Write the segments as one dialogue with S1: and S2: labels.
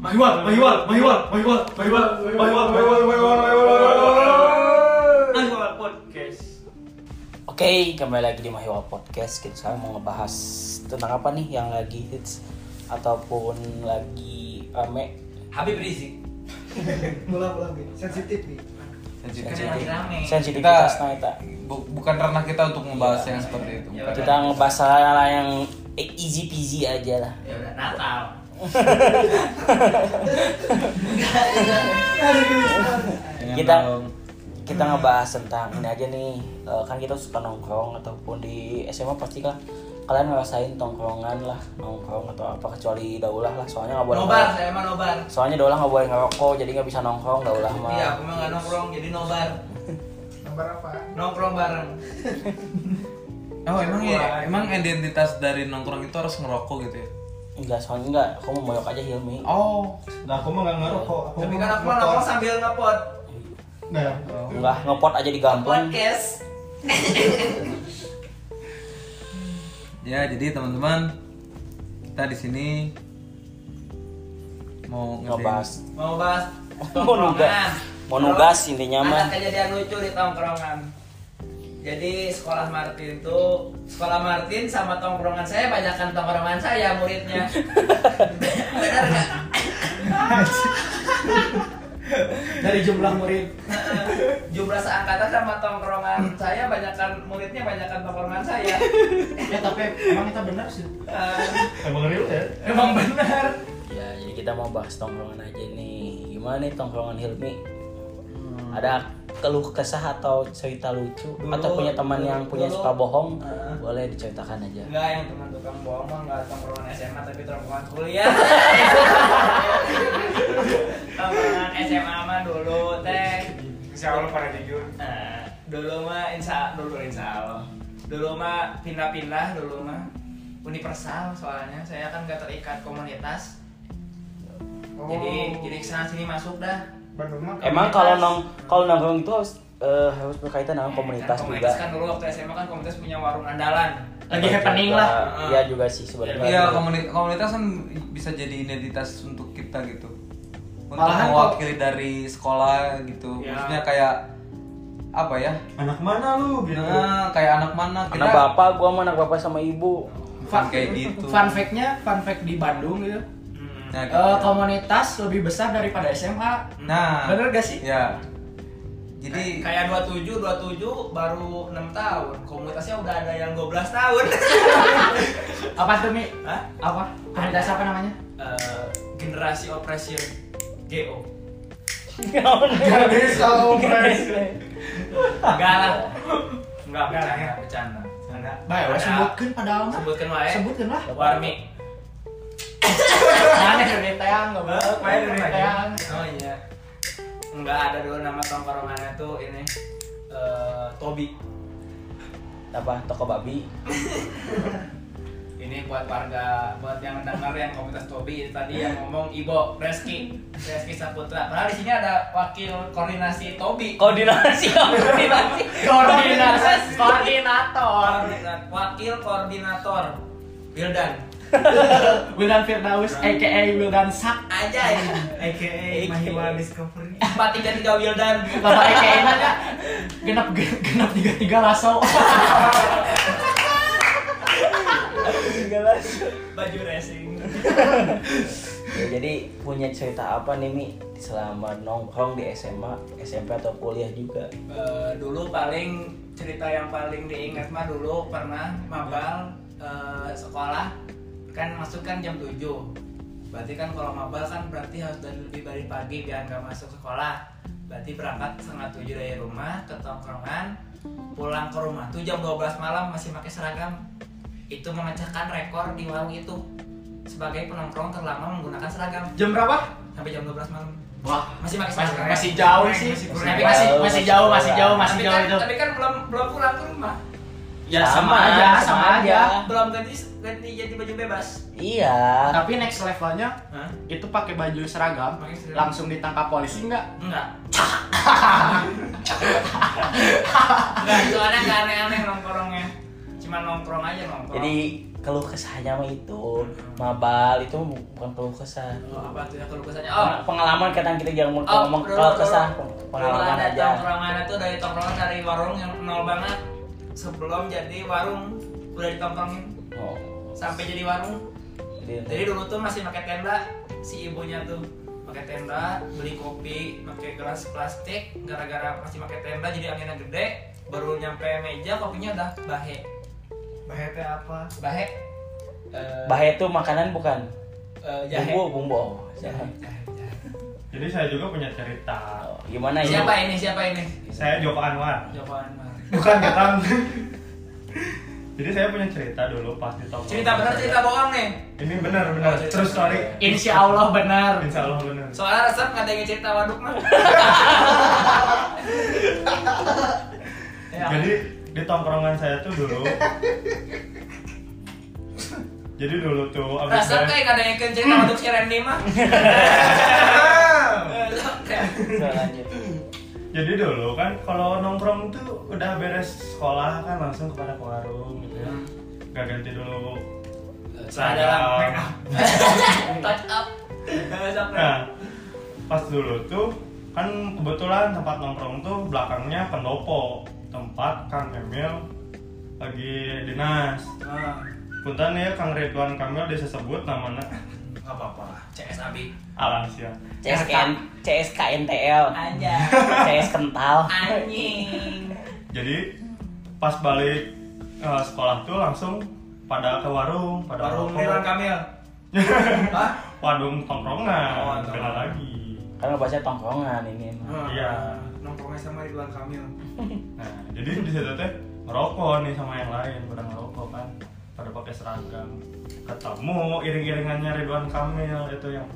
S1: Mahiwal, Mahiwal, Mahiwal, Mahiwal, Mahiwal, Mahiwal, Mahiwal, Mahiwal, Mahiwal podcast.
S2: Oke, kembali lagi di Mahiwa Podcast. Kita sekarang mau ngebahas tentang apa nih yang lagi hits ataupun lagi rame.
S3: Habib Rizik
S4: mulai mulai nih sensitif nih
S3: Kan yang lagi rame.
S2: Sensitivitas nah, kita,
S5: bu- bukan ranah kita untuk membahas yang seperti itu.
S3: Iya,
S5: Bukan.
S2: kita ngebahas hal yang easy peasy aja lah.
S3: ya udah Natal
S5: Jangan
S2: Kita
S5: terlalu-
S2: kita ngebahas tentang ini aja nih. eh, kan kita suka nongkrong ataupun di SMA pasti kan kalian ngerasain tongkrongan lah nongkrong atau apa kecuali daulah lah soalnya nggak boleh
S3: nobar saya mah nobar
S2: soalnya daulah nggak boleh ngerokok jadi nggak bisa nongkrong daulah mah
S3: iya aku mah nggak nongkrong jadi nobar
S4: nomor apa
S3: nongkrong bareng
S5: Oh emang ya, emang identitas dari nongkrong itu harus ngerokok gitu ya?
S2: enggak soalnya enggak aku mau moyok aja Hilmi
S5: Oh,
S4: nah aku mah nggak ngerokok aku
S3: tapi
S4: mah
S3: kan aku mah
S4: ngerokok.
S3: nongkrong sambil ngepod
S4: nah
S2: Enggak, ngepot aja di Gampung.
S3: podcast
S5: ya jadi teman-teman kita di sini mau
S2: Ngebahas.
S3: mau bahas
S2: Oh, Mau nugas.
S3: tongkrongan
S2: Mau nugas intinya mah.
S3: ada kejadian lucu di tongkrongan jadi sekolah Martin itu sekolah Martin sama tongkrongan saya banyakkan tongkrongan saya muridnya benar nggak
S4: dari jumlah murid
S3: jumlah seangkatan sama tongkrongan saya banyakkan muridnya banyakkan tongkrongan saya
S4: ya tapi emang kita benar sih
S3: Eh,
S1: Emang real ya?
S3: emang benar
S2: Ya, jadi kita mau bahas tongkrongan aja nih. Gimana nih tongkrongan Hilmi?
S4: Hmm.
S2: Ada keluh kesah atau cerita lucu
S3: Dulu-
S2: atau punya teman
S3: dulu-
S2: yang punya
S3: dulu-
S2: suka bohong?
S3: Heeh.
S2: Boleh diceritakan aja.
S3: Enggak yang teman tukang bohong mah enggak tongkrongan SMA tapi tongkrongan kuliah. tongkrongan SMA mah dulu teh.
S1: Insya Allah para jujur.
S3: Eh, dulu mah insya dulu insya Allah. Dulu mah pindah-pindah dulu mah universal soalnya saya kan gak terikat komunitas. Jadi jadi kesana sini masuk dah.
S4: Bandung mah
S2: Emang kalau nong kalau nongkrong itu harus eh, harus berkaitan dengan
S3: Eh,
S2: komunitas
S3: kan, komunitas
S2: juga.
S3: kan dulu waktu SMA kan komunitas punya warung andalan. Lagi
S2: Juga-
S3: happening lah.
S2: Iya juga sih sebenarnya.
S5: Iya komuni- komunitas kan bisa jadi identitas untuk kita gitu, untuk
S4: Malahan
S5: mewakili dari sekolah gitu,
S3: Iya.
S5: maksudnya kayak apa ya?
S4: anak mana lu gitu
S5: Nah, kayak anak mana? Kita
S2: Anak bapak, gua sama anak bapak sama ibu.
S5: Bukan kayak gitu.
S6: Fun fact-nya, fun fact di Bandung gitu.
S3: Hmm.
S5: Nah, gitu.
S6: eh, komunitas lebih besar daripada SMA.
S5: Nah,
S6: Bener gak sih?
S5: Ya. Jadi
S3: Nah, kayak 27, 27 baru 6 tahun. Komunitasnya udah ada yang 12 tahun.
S6: Apa tuh Mi?
S3: Hah?
S6: Apa? Komunitas apa namanya?
S3: Eh, generasi oppression GO.
S4: gak bisa operasi
S3: Enggak lah. Enggak bercanda, bercanda. Bercanda.
S6: Baik,
S3: Ada-
S6: sebutkan padahal mah.
S3: sebutkan wae.
S6: Sebutkan lah.
S3: Warmi.
S6: Mana Indonesia
S3: Eh,
S6: nggak boleh.
S3: wae dulu
S6: Indonesia.
S3: ya. Oh iya. Enggak ada dulu nama tongkrongannya tuh ini eh Tobi.
S2: Apa toko babi?
S3: Ini buat warga, buat yang mendengar yang komunitas Tobi tadi yang ngomong Ibo Reski, Reski Saputra. Padahal di sini ada wakil koordinasi Tobi.
S2: Koordinasi, koordinasi.
S6: Koordinator. Koordinator.
S3: Koordinat- wakil koordinator Wildan. Hmm.
S6: Wildan Firdaus, a.k.a. Wildan Sak.
S3: Aja ya. AKA
S6: Mahiwa
S3: Discovery. 433 Wildan.
S6: Bapak a.k.a. nya ya. genap genap tiga tiga lasso.
S3: Baju racing.
S2: Ya, jadi punya cerita apa nih Mi selama nongkrong di SMA, SMP atau kuliah juga?
S3: Eh, dulu paling cerita yang paling diingat mah dulu pernah mabal eh, sekolah kan masuk kan jam 7 berarti kan kalau mabal kan berarti harus dari lebih dari pagi biar nggak masuk sekolah berarti berangkat setengah tujuh dari rumah ke tongkrongan pulang ke rumah tuh jam 12 malam masih pakai seragam itu memecahkan rekor di warung itu sebagai penongkrong terlama menggunakan seragam
S6: Jam berapa?
S3: sampai jam 12 malam
S6: Wah,
S3: masih pakai
S6: masih,
S3: seragam
S6: masih jauh sih.
S3: Masih kurang.
S6: Tapi masih masih jauh, masih jauh, masih
S3: tapi
S6: jauh
S3: kan,
S6: itu.
S3: tapi kan belum belum pulang ke rumah
S6: Ya sama aja, sama aja.
S3: belum ganti ganti jadi baju bebas
S2: Iya.
S6: Tapi next levelnya
S3: Hah?
S6: itu pakai baju seragam
S3: Pakai seragam.
S6: langsung ditangkap polisi nggak?
S3: enggak enggak soalnya nggak aneh-aneh nongkrongnya cuma nongkrong aja nongkrong
S2: Jadi keluh kesahnya mah itu mabal itu bukan keluh kesah
S3: Oh, apa tuh ya kalau kesannya? Oh,
S2: Peng- pengalaman kadang kita jangan mau
S3: Oh,
S2: ngomong
S3: dulu,
S2: keluh
S3: dulu.
S2: kesah pengalaman
S3: Tongkrongan
S2: aja
S3: Tongkrongan itu dari tongkrongan dari warung yang nol banget sebelum jadi warung udah ditongkrongin
S2: oh,
S3: sampai jadi warung. Jadi
S2: jadi,
S3: dulu tuh masih pakai tenda si ibunya tuh pakai tenda beli kopi pakai gelas plastik gara-gara masih pakai tenda jadi anginnya gede baru nyampe meja kopinya udah bahe
S4: Bahaya teh apa?
S3: bahe eh,
S2: bahaya itu makanan bukan
S3: eh, jahe
S2: bumbu bumbu oh,
S3: Jahe,
S2: jahe.
S3: jahe, jahe. Nah,
S1: Jadi saya juga punya cerita.
S2: Oh, gimana ya
S3: siapa ini siapa ini
S1: Saya Joko Anwar,
S3: Joko Anwar
S1: bukan Ketan. Jadi saya punya cerita dulu pas di tongkrongan.
S3: cerita benar cerita bohong nih
S1: Ini benar benar.
S3: Oh, cerita
S1: Terus sorry.
S6: Insya Allah benar.
S1: Insya Allah benar.
S3: soalnya resep nggak ada yang cerita waduk mah Ya.
S1: Jadi di tongkrongan saya tuh dulu. Jadi dulu tuh abis
S3: Resep
S1: dari-
S3: kayak nggak ada yang cerita waduk si Randy mah
S2: Saya lanjut
S1: Jadi dulu kan kalau nongkrong tuh udah beres sekolah kan langsung kepada ke warung gitu ya.
S3: Hmm.
S1: Gak ganti dulu.
S3: Celana dalam make up. touch up
S1: Nah, pas dulu tuh kan kebetulan tempat nongkrong tuh belakangnya pendopo tempat Kang Emil lagi dinas. Punten ya Kang Ridwan Kamil disebut namanya
S3: Gak apa-apa lah, CS Abi
S1: Alasia.
S2: CSKN CSKNTL
S3: Aja
S2: CS kental
S3: Anjing
S1: Jadi pas balik eh, sekolah tuh langsung pada ke warung, pada
S3: Baru
S1: nongkrong.
S3: Ridwan Kamil Hah?
S1: Wadung tongkrongan,
S3: Oh, tongkrongan.
S1: beda lagi.
S2: kan ngebahasnya tongkrongan ini
S3: Hmm.
S2: mah.
S1: Iya.
S3: Nongkrongnya sama Ridwan Kamil
S1: Nah, jadi di situ teh ngerokok nih sama yang lain, pada ngerokok kan, pada pakai seragam. Ketemu iring-iringannya Ridwan Kamil itu yang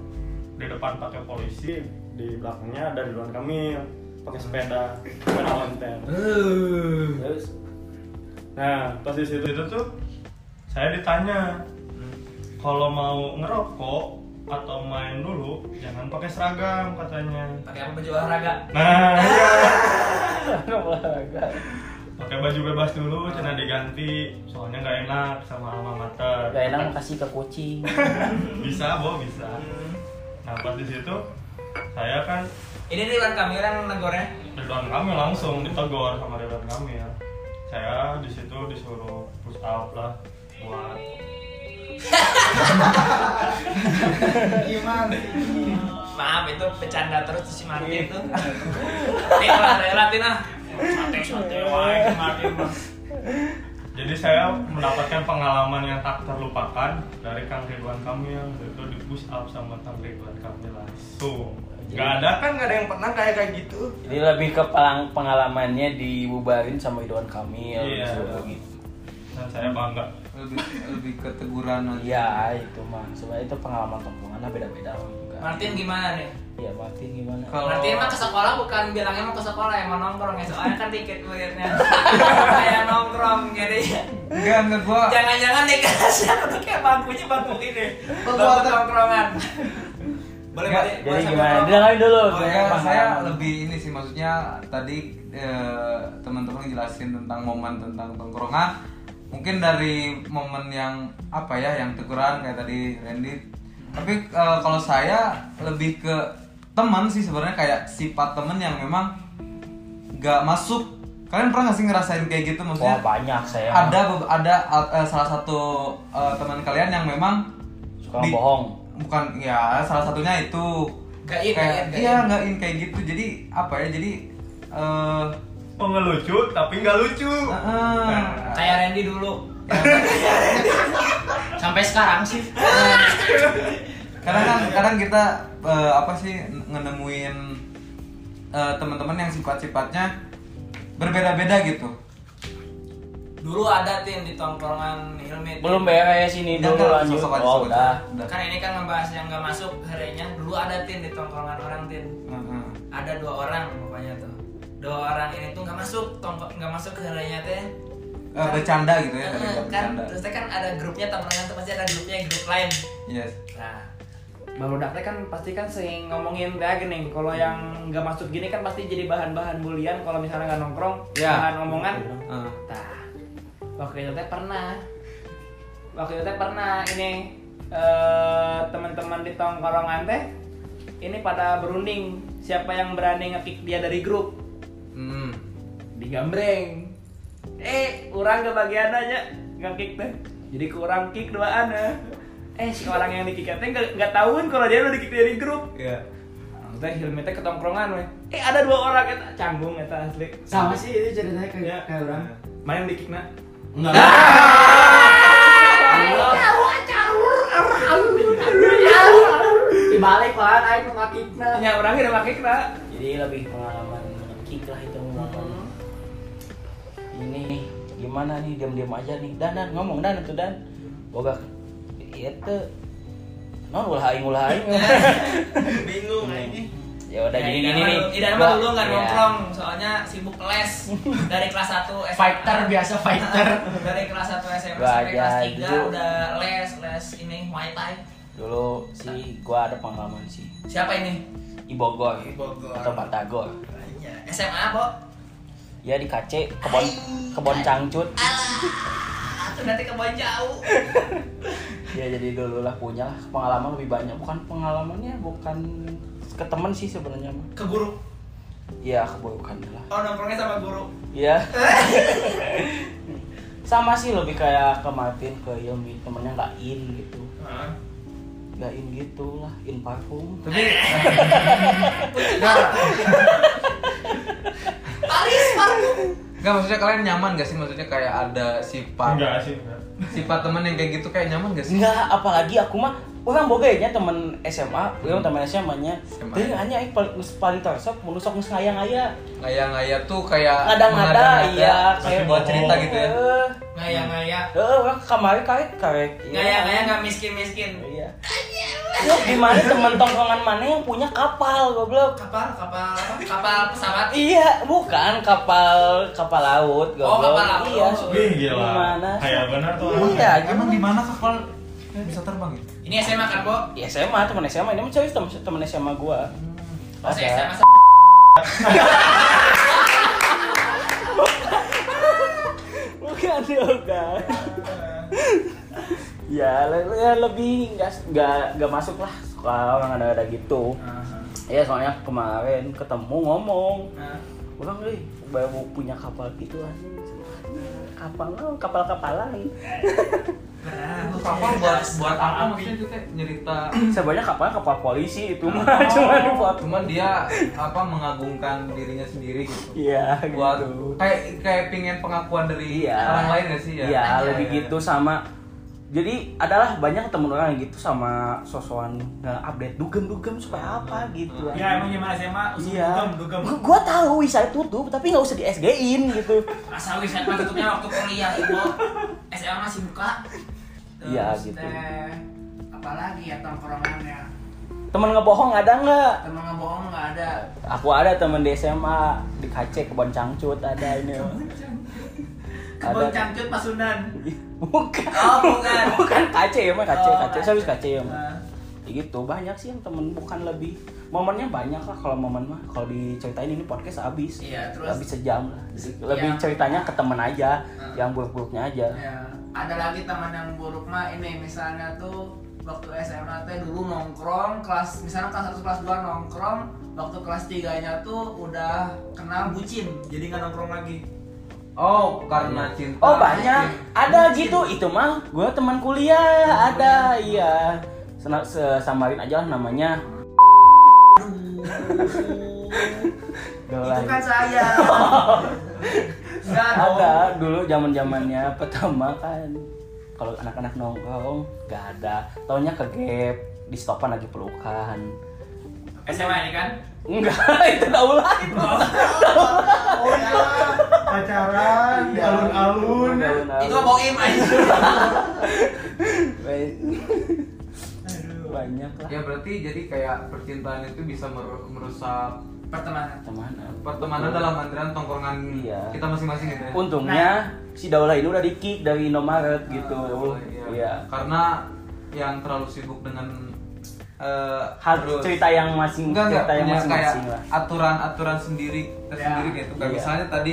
S1: di depan pakai polisi, di belakangnya ada Ridwan Kamil pakai sepeda, sepeda ontel.
S6: Eh.
S1: Terus, nah pas di situ itu tuh saya ditanya kalau mau ngerokok atau main dulu jangan pakai seragam katanya.
S3: Pakai apa baju olahraga?
S1: Nah, iya.
S2: Olahraga.
S1: pakai baju bebas dulu, cina diganti, soalnya nggak enak sama alma mater.
S2: Gak enak kasih ke kucing.
S1: Bisa, bo, bisa. Nah pas di situ, saya kan
S3: Ini Ridwan Kamil yang negornya
S1: Ridwan Kamil langsung ditegor sama Ridwan Kamil. Saya di situ disuruh push up lah buat
S4: Gimana?
S3: Maaf itu bercanda terus si Martin itu Ini olahraga Latin ah Santai-santai wae si Martin mah.
S1: jadi saya mendapatkan pengalaman yang tak terlupakan dari Kang Ridwan Kamil itu di push up sama Kang Ridwan Kamil langsung Gak ada kan gak ada yang pernah kayak kayak gitu
S2: Jadi lebih ke pelang- pengalamannya dibubarin sama Ridwan Kamil
S1: Iya.
S2: disuruh gitu.
S1: dan saya bangga
S5: lebih lebih keteguran aja
S2: Iya itu mah. Sebenarnya itu pengalaman tongkrongan lah beda-beda. lah. Enggak.
S3: Martin gimana nih?
S2: Iya Martin gimana?
S5: Kalau-
S3: Martin mah ke sekolah bukan bilangnya mau ke sekolah emang nongkrong ya soalnya kan dikit muridnya kayak nongkrong jadi
S5: enggak enggak gua
S3: jangan-jangan deh kasihan untuk kayak bangkunya bangku ini bangku
S4: Bangku-
S3: nongkrongan boleh
S5: Nggak,
S3: boleh
S2: jadi gimana? Didengarin dulu.
S3: Oh,
S5: saya,
S3: iya,
S5: ya, saya lebih ini sih maksudnya tadi eh, teman-teman jelasin tentang momen tentang tongkrongan mungkin dari momen yang apa ya yang teguran kayak tadi Randy tapi eh, kalau saya lebih ke teman sih sebenarnya kayak sifat temen yang memang gak masuk kalian pernah gak sih ngerasain kayak gitu
S2: Wah
S5: maksudnya
S2: banyak saya.
S5: ada be- ada eh, salah satu eh, teman kalian yang memang
S2: Suka
S5: di-
S2: bohong.
S5: bukan ya salah satunya itu
S3: Gak in,
S5: kayak
S3: gak in, gak
S5: iya
S3: in.
S5: nggak in kayak gitu jadi apa ya jadi eh
S1: mau ngelucu tapi nggak lucu
S5: eh, eh,
S3: Nah. kayak Randy dulu
S6: Sampai sekarang sih.
S5: kadang kan kadang kita eh, apa sih n- ngenemuin eh, teman-teman yang sifat-sifatnya berbeda-beda gitu
S3: dulu ada tim di tongkrongan Hilmi Tin.
S2: Belum beres ini
S5: Udah,
S2: dulu
S5: udah,
S2: lanjut.
S5: sosok Iya, aja,
S2: Oh
S5: sosok
S2: udah.
S5: aja. Udah.
S3: kan ini kan ngebahas yang nggak masuk harinya dulu ada tim di tongkrongan orang tim
S5: Eh, eh.
S3: ada dua orang pokoknya tuh dua orang ini tuh nggak masuk tongkro- nggak masuk ke harinya teh
S5: Eh, bercanda gitu ya
S3: Eh,
S5: gara-gara
S3: kan
S5: bercanda
S3: terus teh kan ada grupnya tongkrongan tuh pasti ada grupnya grup lain
S5: yes
S3: Nah, Bang Ludak teh kan pasti kan sering ngomongin teh gini, kalau yang nggak masuk gini kan pasti jadi bahan-bahan bulian kalau misalnya nggak nongkrong,
S5: Ya.
S3: bahan omongan.
S5: Eh,
S3: Tah, waktu itu teh pernah waktu itu teh pernah ini eh, teman-teman di tongkrongan teh ini pada berunding siapa yang berani ngekick dia dari grup
S5: Hmm.
S3: digambreng eh kurang kebagian aja ngekick teh jadi kurang kick doaan eh. eh si orang yang dikick teh nggak nggak tahuin kalau dia udah dikick dari grup Anu
S5: Iya.
S3: Teh Hilmi teh ketongkrongan weh. Eh ada dua orang eta canggung eta asli.
S6: Sama sih itu ceritanya kayak
S3: Ya.
S6: kayak orang.
S3: Mana yang dikick na?
S1: Enggak.
S6: Dibalik kan aing nu ngakikna.
S3: Ya orangnya udah pakai na.
S2: jadi lebih pengalaman kick lah itu menggunakan
S3: Mm-hmm.
S2: ini nih gimana nih diam-diam aja nih dan dan ngomong dan itu dan boga itu non Nah, ulah aing ulah aing
S3: Bingung
S2: aing. ya udah jadi
S3: Idan
S2: gini nih
S3: mah- Idan mah
S2: Gua-
S3: dulu nggak
S2: ya.
S3: nongkrong, soalnya sibuk les dari kelas 1 SMA.
S6: Fighter biasa fighter.
S3: dari kelas 1 SMA
S2: Gua
S3: sampai kelas
S2: aja
S3: 3
S2: dulu.
S3: udah les les ini Muay Thai.
S2: dulu sih gua ada pengalaman sih
S3: Siapa ini?
S2: di Bogor
S4: Di Bogor.
S2: atau Batagor
S3: SMA, Bo.
S2: ya di KC kebon kebon cangcut
S3: Alah, tuh nanti kebon jauh.
S2: ya jadi dulu lah punya lah pengalaman lebih banyak bukan pengalamannya bukan ke temen sih sebenarnya mah
S3: Ke guru.
S2: ya keburukan lah
S3: Oh, nongkrongnya sama guru.
S2: ya sama sih lebih kayak ke Martin ke Ilmi temennya nggak in gitu nggak in gitu lah in parfum
S5: Tapi
S3: Paris, Paris.
S5: nggak maksudnya kalian nyaman gak sih? Maksudnya kayak ada sifat
S1: Enggak sih, enggak.
S5: sifat teman yang kayak gitu kayak nyaman gak sih?
S2: enggak apalagi aku mah orang boga nya temen SMA orang temen SMA nya
S5: SMA.
S2: dari hanya ik paling paling tersep menusuk nus ngayang aya
S5: Ngaya-ngaya tuh kayak
S2: ngada-ngada
S5: mengada-ngada.
S2: iya
S5: Ah, Masih buat cerita gitu ya.
S2: Heeh.
S3: Ngaya-ngaya.
S2: Heeh, eh, orang kemarin karek karek iya.
S3: Ngaya-ngaya nggak miskin-miskin.
S2: Iya. Lu gimana teman tongkongan mana yang punya kapal goblok?
S3: Kapal, kapal, apa? kapal pesawat.
S2: Iya, bukan kapal kapal laut goblok.
S3: kapal laut.
S2: Iya.
S1: Wih, gila.
S2: Gimana?
S1: Kayak benar tuh. orang.
S2: Iya,
S5: Emang di mana kapal bisa terbang ya?
S3: Ini SMA kan, Bo?
S2: di SMA teman SMA ini mah cewek teman teman SMA gua.
S3: Hmm. Masih
S2: Ada.
S3: SMA
S2: Bukan yoga. ya, le- ya, lebih nggak nggak nggak masuk lah sekolah orang ada ada gitu. Ya soalnya kemarin ketemu ngomong.
S3: Eh,
S2: Orang nih baru punya kapal gitu anjing. Kapal lah, kapal kapalan.
S5: Nah, Kapal buat buat Iya. apa maksudnya itu teh nyerita
S2: Sebenarnya kapalnya kapal polisi itu mah cuma buat.
S5: cuman dia apa mengagungkan dirinya sendiri gitu.
S2: Iya
S5: Buat
S2: gitu.
S5: kayak kayak pingin pengakuan dari
S2: Iya.
S5: orang lain gak sih ya?
S2: Iya, lebih gitu sama jadi adalah banyak temen orang yang gitu sama sosokan update dugem-dugem supaya apa gitu.
S4: Ya emang gimana SMA? Usul dugem,
S2: Iya.
S4: dugem.
S2: Gua- Gua tahu wisata tutup tapi nggak usah di SG-in gitu.
S3: Masa wisata tutupnya kan waktu kuliah, Ibu? SMA masih buka.
S2: Iya,
S3: Terus
S2: gitu.
S3: teh, apalagi ya tongkrongannya.
S2: Temen ngebohong ada nggak?
S3: Temen ngebohong nggak ada.
S2: Aku ada temen di SMA di KC kebon cangcut ada ini.
S3: Kebun cangcut Pasundan.
S2: Bukan.
S3: Oh, bukan.
S2: Bukan KC ya mah KC
S3: Oh,
S2: KC serius KC ya mah.
S3: Nah,
S2: Ya gitu banyak sih yang temen bukan lebih momennya banyak lah kalau momen mah kalau diceritain ini podcast habis
S3: Iya, terus? Iya.
S2: habis sejam lah lebih
S3: Yang-
S2: ceritanya ke temen aja
S3: Hmm.
S2: yang buruk-buruknya aja
S3: ya. Ada lagi teman yang buruk mah ini misalnya tuh waktu SMA teh dulu nongkrong kelas misalnya kelas 1 kelas 2 nongkrong waktu kelas 3 nya tuh udah kena bucin jadi nggak nongkrong lagi
S5: Oh, karena cinta.
S2: oh banyak
S3: Iya.
S2: ada gitu itu mah gue teman kuliah ada iya Sena- se- samarin aja lah namanya
S3: itu
S2: Dolan.
S3: kan saya enggak dong
S2: ada dulu zaman zamannya pertama kan kalau anak-anak nongkrong gak ada taunya ke gap di stopan lagi pelukan
S3: SMA ini kan
S2: enggak itu daulah itu
S6: iya.
S4: Pacaran di alun-alun.
S3: itu boim aja
S4: Aduh.
S2: banyak lah
S5: Ya berarti jadi kayak percintaan itu bisa meru- merusak
S3: pertemanan
S2: pertemanan
S5: pertemanan dalam antrian tongkrongan
S2: Iya.
S5: kita masing-masing gitu ya.
S2: untungnya si daulah ini udah di kick dari Indomaret gitu
S5: Oh,
S2: iya
S5: Karena yang terlalu sibuk dengan eh,
S2: hal
S5: terus-
S2: cerita yang masing
S5: enggak enggak
S2: cerita yang
S5: punya kayak
S2: masing-masing lah
S5: aturan-aturan sendiri tersendiri gitu. Kayak
S3: Iya.
S5: misalnya tadi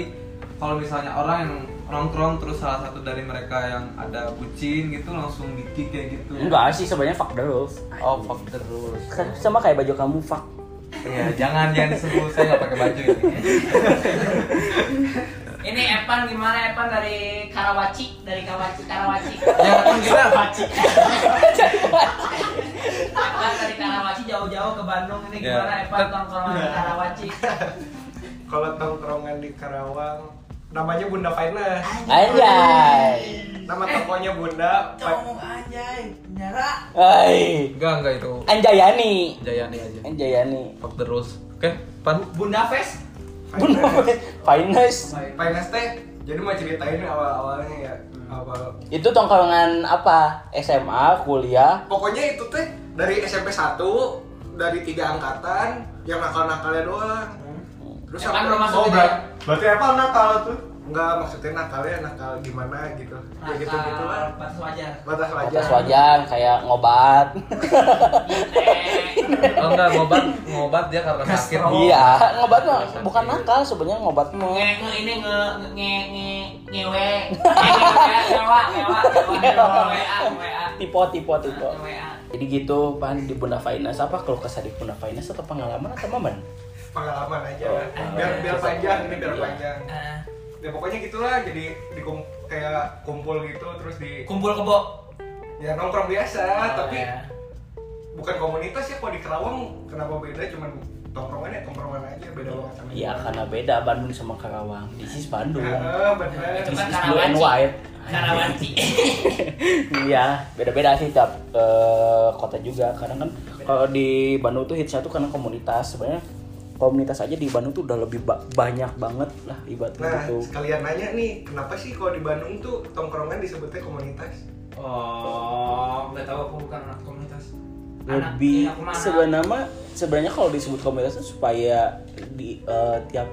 S5: kalau misalnya orang yang nongkrong terus salah satu dari mereka yang ada bucin gitu langsung di kick kayak gitu
S2: Enggak sih sebenarnya fuck the rules.
S5: oh fuck the rules
S2: Kan sama kayak baju kamu fuck.
S5: ya jangan jangan disebut saya nggak pakai baju ini
S3: Ini Evan gimana Evan dari Karawaci, dari Karawaci, Karawaci.
S5: ya kan kita
S3: Evan dari Karawaci jauh-jauh ke Bandung ini
S5: Ya. Nah.
S3: gimana Evan tongkrongan di Karawaci?
S7: Kalau tongkrongan di Karawang, namanya Bunda Finest.
S2: Anjay.
S7: Nama tokonya Bunda. Fi-
S3: Cowok anjay, nyara.
S2: Ay.
S5: enggak enggak itu
S2: Anjayani.
S5: Jayani aja
S2: Anjayani.
S5: fuck the rules oke pan
S3: Bunda Fest.
S7: Finest.
S2: Finest.
S7: Finest teh. Jadi mau ceritain awal-awalnya ya. Awal.
S2: Itu tongkrongan apa? SMA, kuliah.
S7: Pokoknya itu teh dari SMP 1 dari tiga angkatan yang nakal-nakalnya doang. Terus
S3: Evan
S7: sampai-
S3: belum masuk
S7: Oh,
S3: gitu
S7: ber-
S3: ya?
S1: Berarti Apple nakal tuh.
S7: Enggak, maksudnya nakalnya nakal gimana gitu. Ya gitu gitu lah.
S3: Nakal, batas wajar.
S7: Batas wajar.
S2: Atas wajan kayak ngobat.
S3: Ite.
S5: oh enggak ngobat ngobat dia karena sakit
S2: Iya, ngobat mah bukan nakal sebenarnya ngobat mah.
S3: nge nge ini nge nge nge ngewe ngewe ngewa ngewa ngewa ngewa
S2: Tipe, tipe, tipe.
S3: ngewa
S2: Jadi gitu, pan di Bunda Finance apa kalau kesal di Bunda Finance atau pengalaman atau momen?
S7: pengalaman aja
S2: Oh,
S7: biar
S2: pengalaman.
S7: biar panjang ini biar
S2: Iya.
S7: panjang
S3: Ah,
S7: ya pokoknya gitulah jadi di kum- kayak kumpul gitu terus di
S3: kumpul kebo
S7: ya nongkrong biasa
S2: Oh,
S7: tapi
S3: ya.
S7: bukan komunitas ya kalau di Kerawang kenapa beda cuman tongkrongan ya tongkrongan aja beda banget sama
S2: Iya, karena beda Bandung sama Karawang. This is Bandung.
S7: Heeh, bener
S3: Itu
S2: This
S3: kan
S2: is blue and
S3: Karawaci.
S2: white.
S3: Karawaci.
S2: Iya, beda-beda sih tiap eh, kota juga. Kadang kan kalau di Bandung tuh hitsnya tuh karena komunitas. Sebenarnya komunitas aja di Bandung tuh udah lebih ba- banyak banget lah ibaratnya
S7: nah
S2: gitu.
S7: sekalian nanya nih kenapa sih kalau di Bandung tuh tongkrongan disebutnya komunitas
S3: Oh, nggak tahu aku bukan anak komunitas. Anak-
S2: lebih
S3: iya, aku mah anak.
S2: sebenarnya mah- sebenarnya kalau disebut komunitas tuh supaya di eh, tiap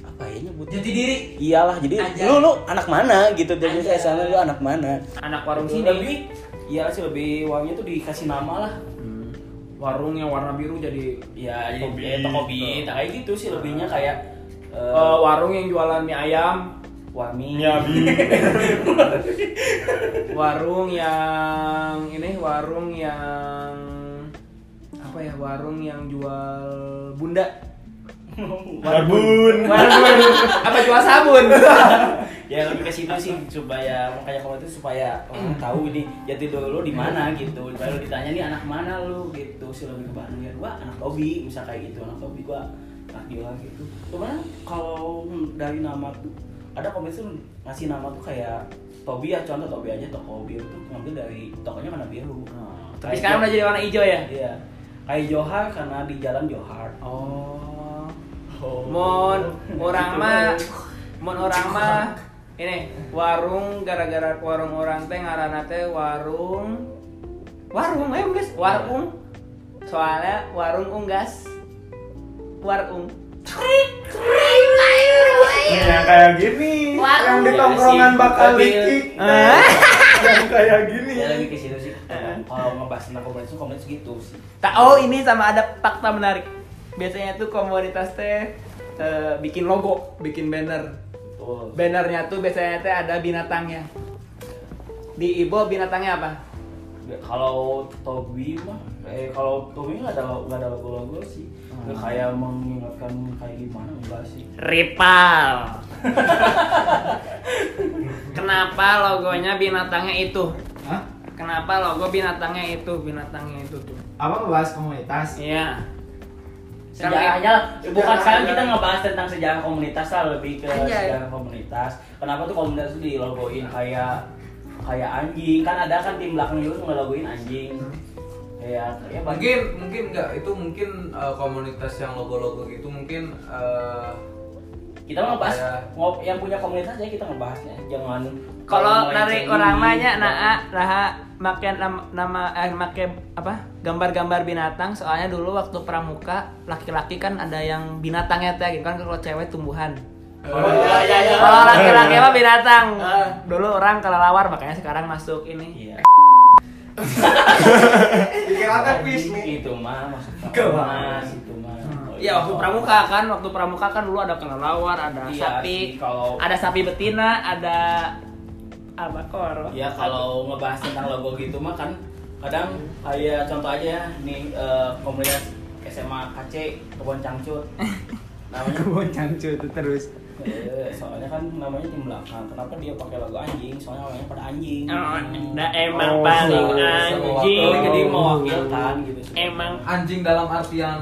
S2: apa ya nyebutnya
S3: Jati diri.
S2: iyalah jadi
S3: Anjay.
S2: lu lu anak mana gitu jadi
S3: Anjay.
S2: saya sana lu anak mana
S6: anak warung
S2: Itu
S6: sini
S2: lebih
S6: iya
S2: iyalah sih lebih uangnya tuh dikasih nama lah
S6: warung yang warna biru jadi
S2: ya Hmm. jadi
S1: Toko
S2: eh,
S1: Beat.
S2: toko beat kayak gitu sih lebihnya kayak eh,
S6: Eh, warung yang jualan mie ayam
S2: wami
S6: Iya,
S1: Ini abi.
S6: warung yang ini warung yang apa ya warung yang jual bunda
S1: Barbun.
S6: warung apa jual sabun
S2: ya lebih ke situ sih supaya makanya kalau itu supaya
S6: Hmm.
S2: orang tahu ini jati diri lu di mana gitu kalau ditanya nih anak mana lu gitu sih lebih ke Bandung ya gua anak Tobi misal kayak gitu anak Tobi gua anak Dila gitu cuman kalau dari nama tuh ada komunitas tuh ngasih nama tuh kayak Tobi ya contoh Tobi aja toko biru tuh ngambil dari tokonya karena biru
S6: Oh, tapi sekarang udah jadi warna hijau ya
S2: iya kayak Johar karena di jalan Johar
S6: oh mon orang mah
S3: Iya.
S6: mon orang mah ini warung gara-gara warung orang teh ngaranna teh warung warung ayo guys warung soalnya warung unggas warung
S1: Yang kayak gini. Yang di
S2: Iya
S1: tongkrongan bakal
S2: Mobil.
S1: dikik. Nah, Yang kayak gini.
S2: ya lebih ke situ sih kalau ngebahas tentang komunitas tuh komunitas gitu sih
S6: Ta- oh ini sama ada fakta menarik. Biasanya tuh komunitas teh eh, bikin logo, bikin banner.
S2: betul
S6: Bannernya tuh biasanya teh ada binatangnya. Di Ibo binatangnya apa?
S2: kalau Tobi mah eh kalau Tobi nggak ada nggak ada logo-logo sih nggak kayak mengingatkan kayak gimana enggak sih
S6: Ripal. Kenapa logonya binatangnya itu?
S4: Hah?
S6: Kenapa logo binatangnya itu? Binatangnya itu tuh.
S4: Apa ngebahas komunitas?
S6: Iya.
S2: sejarahnya lah. bukan
S7: Sejarah,
S2: sekarang kita
S7: sejarah.
S2: ngebahas tentang sejarah komunitas lah lebih ke
S6: Anjay.
S2: sejarah komunitas kenapa tuh komunitas itu dilogoin kayak kayak anjing kan ada kan tim belakang juga ngelogoin anjing kayak ya bagi-
S5: mungkin mungkin enggak itu mungkin eh, komunitas yang logo-logo gitu mungkin eh,
S2: kita mau ngebahas
S5: Kayak-
S2: ngob- yang punya komunitas aja kita ngebahasnya jangan
S6: Kalau
S2: jangan
S6: dari
S2: melenceng
S6: orang
S2: ini,
S6: banyak
S2: gitu.
S6: nah Raha make nam- nama eh make apa? gambar-gambar binatang soalnya dulu waktu pramuka laki-laki kan ada yang binatangnya teh gitu kan kalau cewek tumbuhan. Oh,
S2: Iya, iya, iya.
S6: Kalau laki-laki mah binatang. Dulu orang kelelawar makanya sekarang masuk ini.
S2: Iya.
S7: dikira kan bis nih
S2: Itu mah maksudnya.
S7: Kemana?
S2: Mas, Itu mah. Oh,
S6: Iya waktu pramuka kan, waktu pramuka kan dulu ada kelelawar, ada
S2: Iya sih,
S6: sapi,
S2: kalau-
S6: ada sapi betina, ada apa koro?
S2: Ya kalau ngebahas tentang logo gitu mah kan kadang kayak contoh aja nih eh, komunitas SMA KC Kebon Cangcut. Namanya
S6: Kebun cangcut terus.
S2: eh, soalnya kan namanya di belakang. Kenapa dia pakai logo anjing? Soalnya namanya pada anjing. Hmm.
S6: Oh, nah,
S5: Oh,
S6: emang paling
S5: se-
S6: anjing.
S5: sewaktu-
S2: Jadi mewakilkan gitu.
S6: Emang
S5: anjing dalam artian